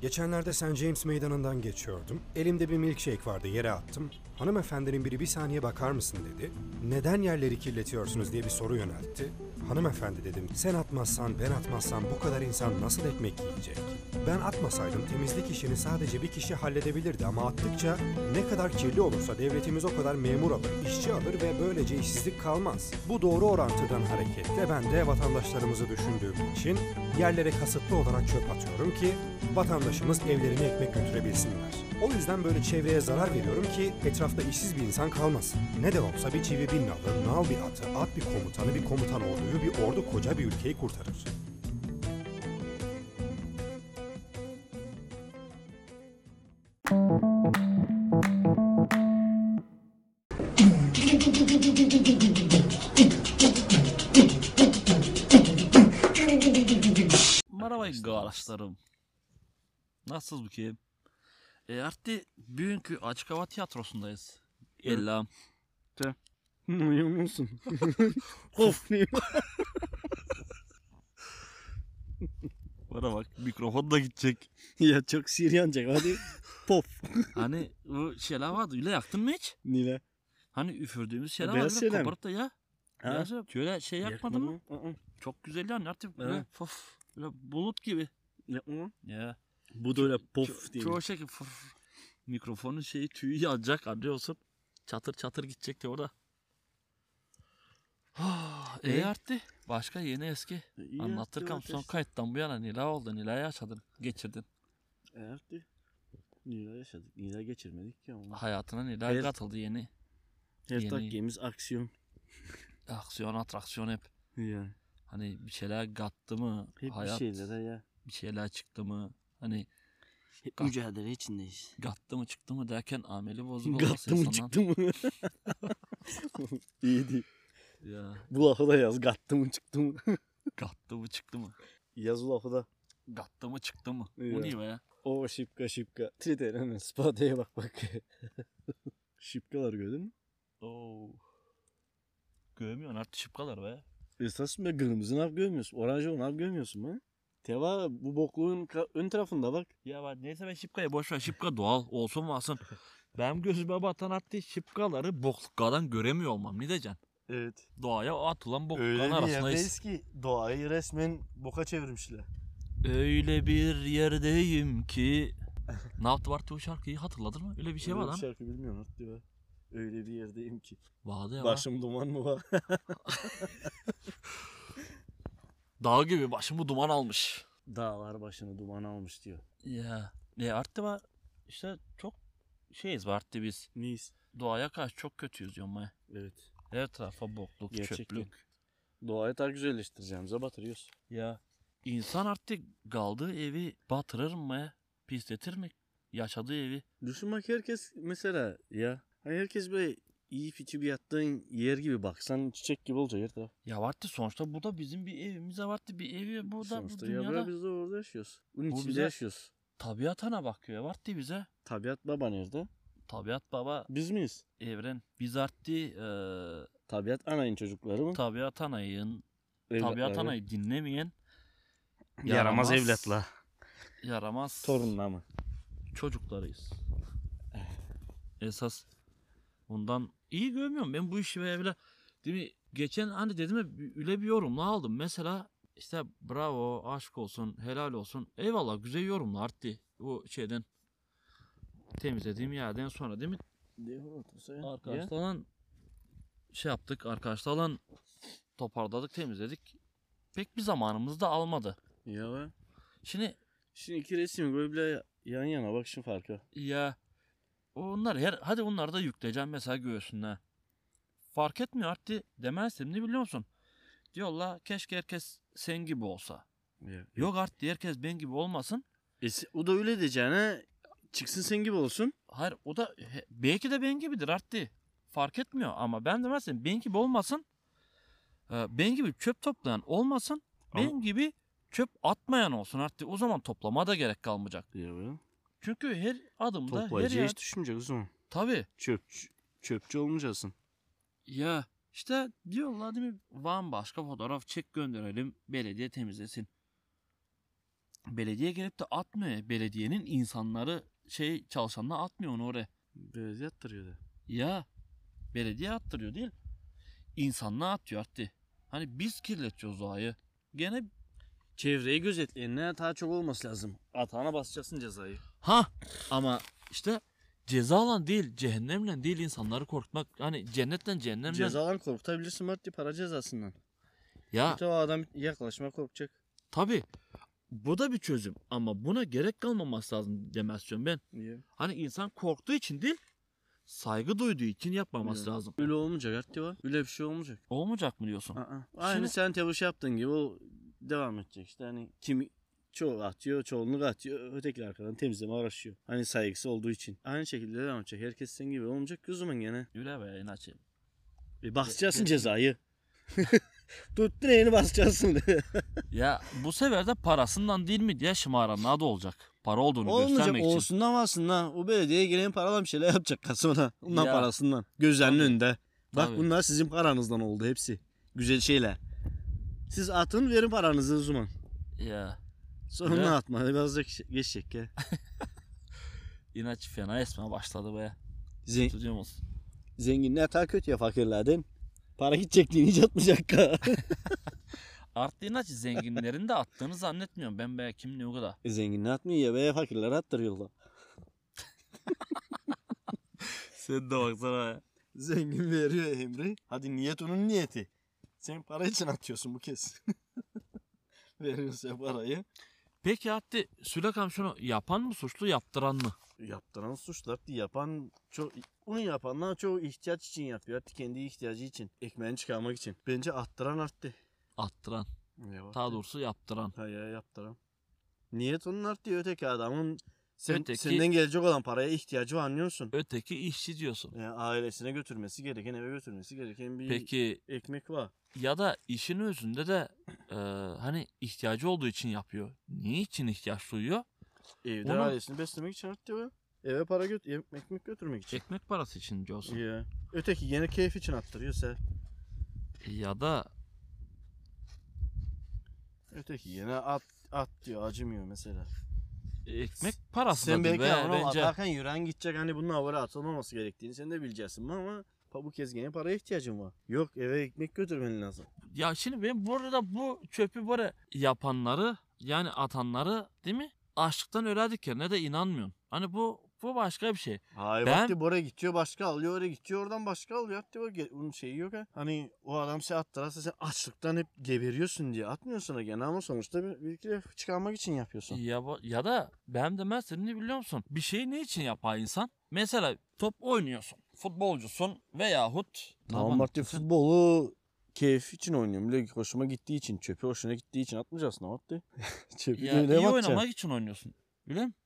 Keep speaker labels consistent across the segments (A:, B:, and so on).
A: Geçenlerde St. James meydanından geçiyordum. Elimde bir milkshake vardı yere attım. Hanımefendinin biri bir saniye bakar mısın dedi. Neden yerleri kirletiyorsunuz diye bir soru yöneltti. Hanımefendi dedim sen atmazsan ben atmazsam bu kadar insan nasıl ekmek yiyecek? Ben atmasaydım temizlik işini sadece bir kişi halledebilirdi ama attıkça ne kadar kirli olursa devletimiz o kadar memur alır, işçi alır ve böylece işsizlik kalmaz. Bu doğru orantıdan hareketle ben de vatandaşlarımızı düşündüğüm için yerlere kasıtlı olarak çöp atıyorum ki vatandaşımız evlerine ekmek götürebilsinler. O yüzden böyle çevreye zarar veriyorum ki etrafta işsiz bir insan kalmasın. Ne de olsa bir çivi bir nalı, nal bir atı, at bir komutanı, bir komutan orduyu, bir ordu koca bir ülkeyi kurtarır.
B: Merhaba arkadaşlarım. Nasılsınız bakayım? E artık bugünkü açık hava tiyatrosundayız. Ella.
C: Uyuyor musun?
B: Of. Bana bak mikrofon da gidecek.
C: ya çok Siryanca hadi. Pop.
B: Hani bu şeyler vardı. Öyle yaktın mı hiç?
C: Nile.
B: Hani üfürdüğümüz şeyler
C: Beyaz
B: vardı.
C: şeyler mi?
B: Koparıp da ya.
C: Ha?
B: Beyaz şey- Şöyle şey yakmadın mı?
C: Aa,
B: Çok güzel yani artık.
C: Evet.
B: Böyle, fof. Böyle bulut gibi.
C: Yapma lan.
B: Ya.
C: Bu da öyle pof
B: Ço-
C: diye.
B: Çoğu şekilde fof. Mikrofonun şeyi tüyü yanacak anlıyorsun. Çatır çatır gidecek de orada. Ah,
C: E?
B: e arttı. Başka yeni eski.
C: İyi
B: Anlatırken
C: yaptın
B: son
C: ateş.
B: kayıttan bu yana Nila oldu. Nila'yı açadın. Geçirdin.
C: E, yaptı. Nila yaşadık. Nila geçirmedik ki ama.
B: Hayatına Nila
C: Evet.
B: katıldı yeni.
C: Her
B: Ah, Yeni-
C: dakikemiz aksiyon.
B: Aksiyon, atraksiyon hep.
C: Ya.
B: Hani bir şeyler kattı mı?
C: Hep
B: hayat
C: bir şey. şeylere ya.
B: bir şeyler çıktı mı? Hani
C: Hep
B: Gat-
C: mücadele içindeyiz.
B: kattı mı çıktı mı derken ameli bozuk olması
C: Gattı mı
B: insandan.
C: çıktı mı? İyiydi.
B: Ya,
C: Bu lafı da yaz. Gattı mı çıktı mı?
B: kattı mı çıktı mı?
C: yaz bu lafı da.
B: Kattı mı çıktı mı?
C: Ya.
B: Bu niye be ya?
C: O şıpka şıpka. Twitter hemen Spotify'a bak bak. Şıpkalar gördün mü?
B: Oo. Görmüyorsun artık şıpkalar be.
C: Esasın be kırmızı nap görmüyorsun. Oranjı nap görmüyorsun be. Teva bu bokluğun ka- ön tarafında bak.
B: Ya ben neyse ben şıpkayı boş ver. Şıpka doğal olsun varsın. Benim gözüme batan hatta şıpkaları bokluklardan göremiyor olmam. Ne diyeceksin?
C: Evet.
B: Doğaya atılan
C: Öyle
B: boklukların
C: bir
B: arasındayız.
C: yerdeyiz ki doğayı resmen boka çevirmişler.
B: Öyle bir yerdeyim ki... ne yaptı Bartu o şarkıyı hatırladın mı? Öyle bir şey var
C: Öyle
B: lan.
C: bir şarkı bilmiyorum artık ya. Öyle bir yerdeyim ki.
B: Vardı ya. lan.
C: Başım duman mı var?
B: Dağ gibi başımı duman almış.
C: Dağlar başını duman almış diyor.
B: Ya. Ne arttı var? İşte çok şeyiz be arttı biz.
C: Nice.
B: Doğaya karşı çok kötüyüz yomaya.
C: Evet.
B: Her tarafa bokluk,
C: Gerçekten.
B: çöplük.
C: Doğayı daha güzelleştireceğimize batırıyoruz.
B: Ya insan artık kaldığı evi batırır mı? Pisletir mi? Yaşadığı evi.
C: Düşün bak herkes mesela ya. Hani herkes böyle iyi içi bir yattığın yer gibi baksan çiçek gibi olacak her taraf.
B: Ya vardı sonuçta bu da bizim bir evimiz ya vardı bir evi burada
C: Sonuçta
B: bu
C: ya
B: dünyada.
C: bırak biz de orada yaşıyoruz. Bunun
B: Bu
C: içinde
B: bize-
C: yaşıyoruz.
B: Tabiatana bakıyor ya vardı bize.
C: Tabiat baba nerede?
B: Tabiat baba
C: Biz miyiz?
B: evren. Biz arttı
C: Tabiat anayın çocukları mı?
B: e, tabiat anayın,
C: Evlatlar
B: tabiat
C: mı?
B: anayı dinlemeyen
C: Yaramaz,
B: Yaramaz.
C: evlatla.
B: yaramaz
C: Torunla mı?
B: çocuklarıyız. Esas bundan iyi görmüyorum ben bu işi ve bile değil mi? Geçen hani dedim ya öyle bir yorumla aldım. Mesela işte bravo, aşk olsun, helal olsun. Eyvallah güzel yorumlar arttı bu şeyden. Temizlediğim yerden sonra değil mi?
C: Ya.
B: Arkadaşlarla şey yaptık, arkadaşlarla toparladık, temizledik. Pek bir zamanımız da almadı.
C: Ya be.
B: Şimdi
C: Şimdi iki resim böyle bile yan yana bak şu farka.
B: Ya onlar her hadi onları da yükleyeceğim mesela göğsüne. Fark etmiyor artık demezsin ne biliyor musun? Diyorlar keşke herkes sen gibi olsa.
C: Ya.
B: Yok artık herkes ben gibi olmasın.
C: E, se- o da öyle diyeceğine çıksın sen gibi olsun.
B: Hayır o da he- belki de ben gibidir artık. Fark etmiyor ama ben demezsin ben gibi olmasın. Ee, Ben gibi çöp toplayan olmasın.
C: Ama-
B: Ben gibi çöp atmayan olsun artık. O zaman toplama da gerek kalmayacak.
C: Ya be.
B: Çünkü her adımda her
C: Toplayıcı
B: yer...
C: hiç düşünmeyecek o zaman.
B: Tabii.
C: Çöp, çöpçü olmayacaksın.
B: Ya işte diyorlar değil mi? Van başka fotoğraf çek gönderelim belediye temizlesin. Belediye gelip de atmıyor. Belediyenin insanları şey çalışanlar atmıyor onu oraya.
C: Belediye attırıyor da.
B: Ya belediye attırıyor değil. İnsanlar atıyor artık. Hani biz kirletiyoruz doğayı. Gene
C: Çevreyi gözetleyen ne hata çok olması lazım. Atağına basacaksın cezayı.
B: ha ama işte ceza alan değil cehennemle değil insanları korkutmak. Hani cennetten cehennemden.
C: Cezadan korkutabilirsin Marti para cezasından.
B: Ya
C: Bir de o adam yaklaşma korkacak.
B: tabi bu da bir çözüm ama buna gerek kalmaması lazım demezsin ben.
C: Niye?
B: Hani insan korktuğu için değil saygı duyduğu için yapmaması
C: Ya.
B: lazım.
C: Öyle olmayacak Artti var. Öyle bir şey olmayacak.
B: Olmayacak mı diyorsun?
C: Aa, aynı
B: Şimdi-
C: sen tevuş yaptığın gibi o devam edecek işte hani kimi çoğu atıyor, çoğunluk atıyor. Ötekiler arkadan temizleme uğraşıyor. Hani saygısı olduğu için. Aynı şekilde devam edecek. Herkes senin gibi olmayacak ki o zaman gene.
B: Öyle be inaçı.
C: E, basacaksın cezayı. Tuttun elini basacaksın.
B: Ya bu sefer de parasından değil mi diye şımaran adı olacak. Para olduğunu
C: Olmayacak
B: göstermek için.
C: olsundan varsınlar. O belediyeye gelen paradan bir şeyler yapacak kasımına. Ondan
B: Ya.
C: parasından. Gözlerinin
B: Tabii.
C: önünde. Bak
B: Tabii.
C: bunlar sizin paranızdan oldu hepsi. Güzel şeyler. Siz atın verin paranızı o zaman.
B: Ya
C: Sonra
B: Ya.
C: atma. Birazcık geçecek ya.
B: inaç fena esme başladı be.
C: Zen-
B: Tutuyor musun?
C: zenginler ta kötü ya fakirlerden. Para gidecek diye hiç atmayacak ka.
B: Artı inaç zenginlerin de attığını zannetmiyorum. Ben be kim ne o kadar.
C: E, zenginler atmıyor ya be fakirler attırıyorlar.
B: Sen de baksana be.
C: Zengin veriyor emri. Hadi niyet onun niyeti. Sen para için atıyorsun bu kez. Veriyorsun parayı.
B: Peki Hatta Sülakam şunu yapan mı suçlu yaptıran mı?
C: Yaptıran suçlar ki yapan çok onu yapanlar çoğu ihtiyaç için yapıyor. Artık kendi ihtiyacı için. Ekmeğini çıkarmak için. Bence attıran arttı.
B: Attıran. Daha doğrusu yaptıran.
C: Ha ya yaptıran. Niyet onun arttı. Öteki adamın sen,
B: Öteki-
C: senden gelecek olan paraya ihtiyacı var anlıyorsun.
B: Öteki işçi diyorsun.
C: Yani E, ailesine götürmesi gereken, eve götürmesi gereken
B: Ee,
C: bir
B: Peki
C: ekmek var.
B: ya da işin özünde de e, hani ihtiyacı olduğu için yapıyor. Niçin ihtiyaç duyuyor?
C: Evde
B: Onu-
C: ailesini beslemek için artık diyor. Eve para göt em- ekmek götürmek için.
B: Ekmek parası için diyorsun.
C: Ya. Öteki yine keyif için attırıyorsa.
B: Ya da
C: Öteki yine at at diyor acımıyor mesela.
B: ekmek parası
C: Sen belki
B: be,
C: ama
B: bence.
C: atarken yüren gidecek hani bunun havara atılmaması gerektiğini sen de bileceksin ama pa- bu kez yine paraya ihtiyacın var. Yok eve ekmek götürmen lazım.
B: Ya şimdi ben burada bu çöpü böyle yapanları yani atanları değil mi? Açlıktan öğrendiklerine de inanmıyorsun. Hani bu bu başka bir şey.
C: Hayır
B: Ben-
C: ben... vakti buraya gidiyor başka alıyor oraya gidiyor oradan başka alıyor hatta o ge- onun şeyi yok ha. Hani o adam seni attırarsa sen açlıktan hep geberiyorsun diye atmıyorsun ha gene ama sonuçta bir, bir kere çıkarmak için yapıyorsun.
B: Ya, bu- ya da ben demezsin ne biliyor musun? Bir şeyi ne için yapar insan? Mesela top oynuyorsun. Futbolcusun veyahut Ne
C: Tamam
B: yapalım?
C: Martin futbolu keyif için oynuyorum. Böyle hoşuma gittiği için çöpü hoşuna gittiği için atmayacaksın ama Martin. çöpü
B: ya,
C: ne
B: iyi
C: atacaksın?
B: oynamak için oynuyorsun. Biliyor musun?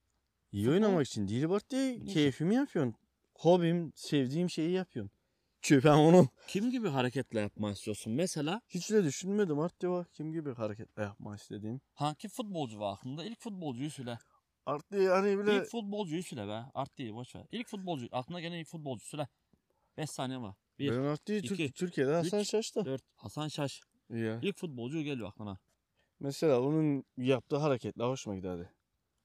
C: İyi oynamak için değil Martin. Keyfimi yapıyorsun. Hobim, sevdiğim şeyi yapıyorum. Çöpem onu.
B: Kim gibi hareketler yapmak istiyorsun? Mesela
C: Hiç de düşünmedim Martin var. Kim gibi hareketler yapma istediğim.
B: hangi futbolcu var aklında? İlk futbolcuyu söyle.
C: Artık hani bile...
B: İlk futbolcuyu söyle be. Art değil boş ver. İlk futbolcu. Aklına gelen ilk futbolcu söyle. 5 saniye var. Bir.
C: Ben Artti'yi Türk-
B: iki,
C: Türkiye'de Hasan
B: üç,
C: Şaş'ta.
B: 4. Hasan Şaş.
C: Ya.
B: İlk futbolcu geliyor aklına.
C: Mesela onun yaptığı hareketler hoşuma giderdi.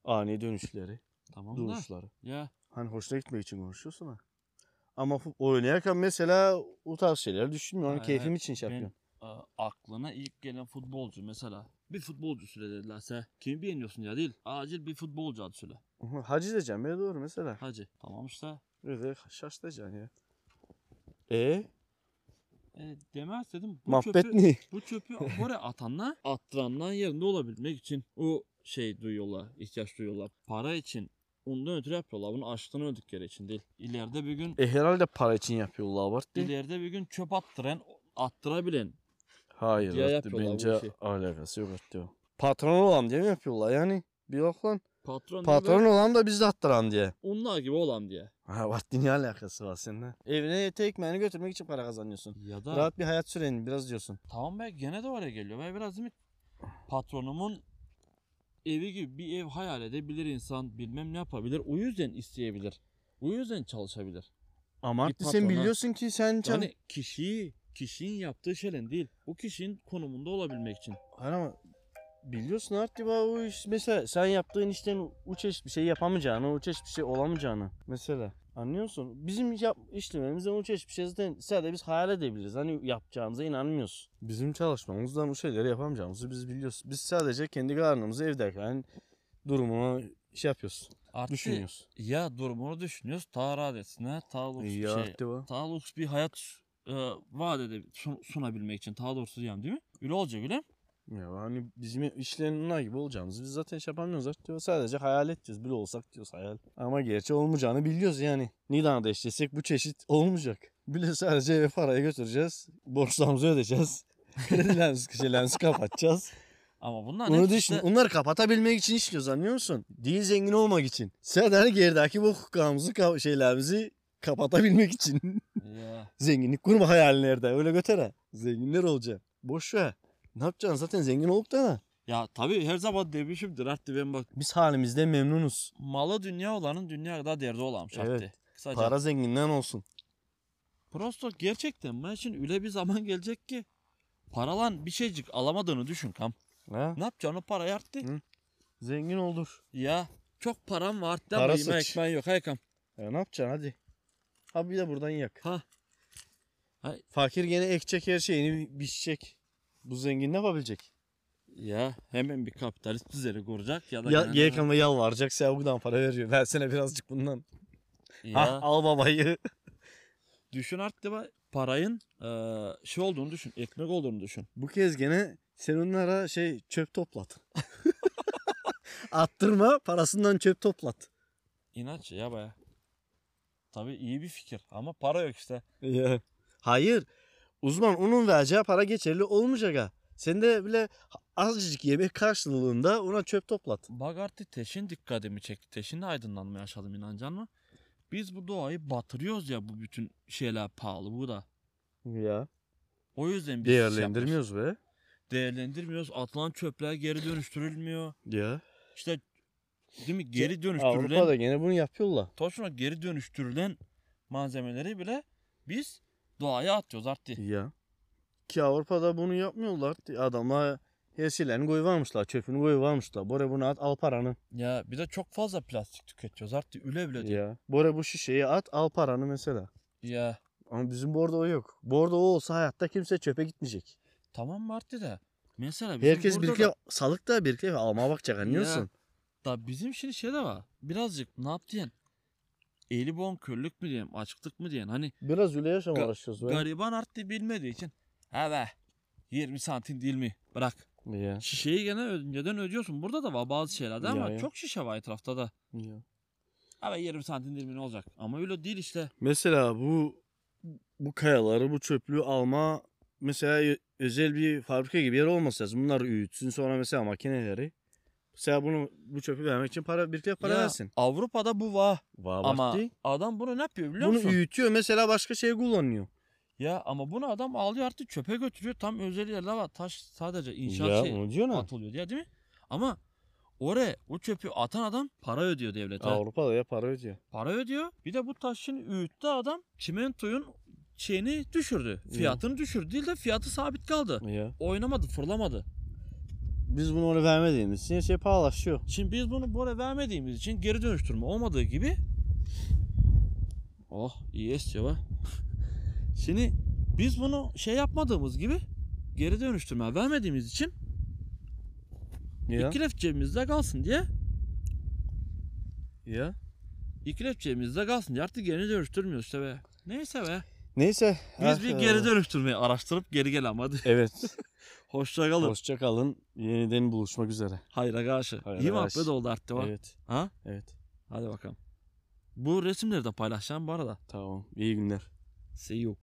C: Ani dönüşleri,
B: Tamam da.
C: duruşları.
B: Ya.
C: Hani hoşuna gitmek için konuşuyorsun ha. Ama fu- oynarken mesela o tarz şeyler düşünmüyorum.
B: Ha,
C: Hani keyfim
B: evet.
C: için şey
B: Ben-
C: yapıyorum.
B: e, aklına ilk gelen futbolcu mesela. Bir futbolcu söyle dedilerse kimi beğeniyorsun ya değil. Acil bir futbolcu adı söyle.
C: Hı, Hacı diyeceğim ya doğru mesela.
B: Hacı. Tamam işte.
C: Öyle şaş diyeceksin ya. E
B: E, demez dedim. Bu
C: muhabbet
B: çöpü,
C: ne?
B: bu çöpü oraya atanlar attıranlar yerinde olabilmek için o şey duyuyorlar. ihtiyaç duyuyorlar. Para için ondan ötürü yapıyorlar. Bunu açlığını öldükleri için değil. İleride bir gün
C: E herhalde para için yapıyorlar var değil.
B: ileride bir gün çöp attıran attırabilen
C: Hayır
B: Diye
C: Artti,
B: yapıyorlar bu
C: bence
B: işi.
C: alakası yok Artti. o. Patron olan diye mi yapıyorlar yani? Bir bak lan.
B: patron,
C: Patron
B: gibi,
C: olan da biz de attıran diye.
B: onlar gibi olan diye.
C: Ha vakti ne alakası var seninle? Evine ete ekmeğini götürmek için para kazanıyorsun.
B: Ya da
C: Rahat bir hayat sürenin biraz diyorsun.
B: Tamam be gene de oraya geliyor. Ben biraz değil mi patronumun evi gibi bir ev hayal edebilir insan. Bilmem ne yapabilir. O yüzden isteyebilir. O yüzden çalışabilir.
C: Ama
B: Bir
C: artık sen
B: patrona-
C: biliyorsun ki sen can...
B: Yani kişiyi, kişinin yaptığı şeyle değil. O kişinin konumunda olabilmek için.
C: Hayır ama biliyorsun artık ya o iş mesela sen yaptığın işten uç bir şey yapamayacağını, uç bir şey olamayacağını mesela. Anlıyorsun? Bizim yap işlememizden uç bir şey zaten sadece biz hayal edebiliriz. Hani yapacağımıza inanmıyoruz. Bizim çalışmamızdan o şeyleri yapamayacağımızı biz biliyoruz. Biz sadece kendi kararımızı evdeyken durumuna şey yapıyoruz.
B: Artı
C: Düşünüyoruz.
B: ya durumunu düşünüyoruz. Ta adetine, ta lüks
C: İyi
B: bir şey.
C: artık bu.
B: Ta lüks bir hayat e, vaat edeb- sun- sunabilmek için. Ta doğrusu diyeyim değil mi? Öyle olacak öyle.
C: Ya hani bizim işlerinin gibi olacağımızı biz zaten şey yapamıyoruz artık diyor. Sadece hayal edeceğiz. Bile olsak diyoruz hayal. Ama gerçi olmayacağını biliyoruz yani. Nidan'da işlesek bu çeşit olmayacak. Bile sadece eve parayı götüreceğiz. Borçlarımızı ödeyeceğiz. Kredilerimizi, şeylerimizi kapatacağız.
B: Ama bunlar
C: Onu
B: hepsi
C: düşün.
B: de-
C: Onları kapatabilmek için işliyoruz anlıyor musun? Değil zengin olmak için. Sadece gerideki bu hukukamızı, ka- şeylerimizi kapatabilmek için.
B: Ya.
C: Zenginlik kurma hayallerde öyle götüre. Zenginler olacak. Boş ver. Ne yapacaksın zaten zengin olup da ne?
B: ya tabii her zaman demişimdir artık ben bak
C: Biz halimizde memnunuz.
B: malı dünya olanın dünya kadar derdi olam şarttı.
C: Evet.
B: Kısaca.
C: Para zenginden olsun.
B: Prosto gerçekten ben için öyle bir zaman gelecek ki paralan bir şeycik alamadığını düşün kam.
C: Ha?
B: Ne yapacaksın o parayı arttı?
C: Hı. Zengin olur.
B: Ya çok param var arttı
C: Para
B: ama yeme
C: sıç.
B: ekmeğin yok hey kam.
C: Ya ne yapacaksın hadi. Ha bir de buradan yak.
B: Ha.
C: Fakir gene ekecek her şeyini biçecek. Bu zengin ne yapabilecek?
B: Ya hemen bir kapitalist düzeni kuracak ya da
C: Ya,
B: gene-
C: YKM yalvaracak Sevgu'dan para veriyor. Versene birazcık bundan.
B: Ya,
C: Ha, al babayı.
B: düşün arttı bak parayın eee, şey olduğunu düşün ekmek olduğunu düşün.
C: Bu kez gene sen onlara şey çöp toplat. Attırma parasından çöp toplat.
B: İnanç ya baya. Tabii iyi bir fikir ama para yok işte.
C: Ya. Hayır. Uzman onun vereceği para geçerli olmayacak ha. Sen de bile azıcık yemek karşılığında ona çöp toplat.
B: Bak artık teşin dikkatimi çekti. Teşinle aydınlanma yaşadım inancan mı? Biz bu doğayı batırıyoruz ya bu bütün şeyler pahalı bu da.
C: Ya.
B: O yüzden biz şey yapmıyoruz.
C: Değerlendirmiyoruz be.
B: Değerlendirmiyoruz. Atılan çöpler geri dönüştürülmüyor.
C: Ya.
B: İşte değil mi? Geri dönüştürülen
C: Şey, Avrupa'da gene bunu yapıyorlar.
B: Toşuna geri dönüştürülen malzemeleri bile biz doğaya atıyoruz artık.
C: Ya. Ki Avrupa'da bunu yapmıyorlar. Adama her şeylerini koyuvermişler. Çöpünü koyuvermişler. Bora bunu at al paranı.
B: Ya bir de çok fazla plastik tüketiyoruz artık üle bile.
C: Ya. Bora bu şişeyi at al paranı mesela.
B: Ya
C: Ama bizim bordo o yok. Bordo o olsa hayatta kimse çöpe gitmeyecek.
B: tamam mı artık da? Mesela bizim
C: Herkes
B: burada
C: bir
B: da-
C: salık da bir kere almaya bakacak anlıyorsun.
B: Da bizim şimdi şey de var. Birazcık ne yap diyen. Eli bon körlük mü diyeyim, açıklık mı diyen. Hani
C: Biraz üle yaşam
B: Ga-
C: uğraşıyoruz be.
B: gariban arttı bilmediği için. He be. 20 santim değil mi? Bırak.
C: Ya.
B: Şişeyi gene önceden ödüyorsun. Burada da var bazı şeylerde ama
C: Ya, ya.
B: çok şişe var etrafta da.
C: ya.
B: Abi 20 santim değil mi ne olacak? Ama öyle değil işte.
C: Mesela bu bu kayaları, bu çöplüğü alma mesela ö- özel bir fabrika gibi yer olması lazım. Bunlar öğütsün sonra mesela makineleri. Mesela bunu bu çöpü vermek için para bir kere para
B: Ya,
C: versin.
B: Avrupa'da bu var. Ama
C: Ama
B: adam bunu ne yapıyor biliyor
C: bunu
B: musun?
C: öğütüyor mesela başka şey kullanıyor.
B: ya ama bunu adam alıyor artık çöpe götürüyor. Tam özel yerler var. Taş sadece inşaat şey.
C: diyor
B: atılıyor diye değil mi? Ama oraya o çöpü atan adam para ödüyor devlete.
C: Avrupa'da ya para ödüyor.
B: Para ödüyor. Bir de bu taşın öğüttü adam çimentoyun şeyini düşürdü. Fiyatını düşürdü değil de fiyatı sabit kaldı.
C: Ya.
B: Oynamadı, fırlamadı.
C: Biz bunu ona vermediğimiz için şey pahalaşıyor.
B: Şimdi biz bunu Bora vermediğimiz için geri dönüştürme olmadığı gibi Oh iyi esiyor bak. Şimdi biz bunu şey yapmadığımız gibi geri dönüştürme vermediğimiz için
C: Ya.
B: ikilef cebimizde kalsın diye
C: ya.
B: İkilep cebimizde kalsın diye artık geri dönüştürmüyoruz işte be. Neyse be.
C: Neyse.
B: Biz bir
C: Ah,
B: geri dönüştürmeyi araştırıp geri gel ama hadi.
C: Evet.
B: Hoşça kalın.
C: Hoşça kalın. Yeniden buluşmak üzere.
B: Hayra karşı.
C: Hayra
B: İyi
C: karşı.
B: muhabbet oldu artık var.
C: Evet.
B: Ha?
C: Evet.
B: Hadi bakalım. Bu resimleri de paylaşacağım bu arada.
C: Tamam. İyi günler.
B: See you.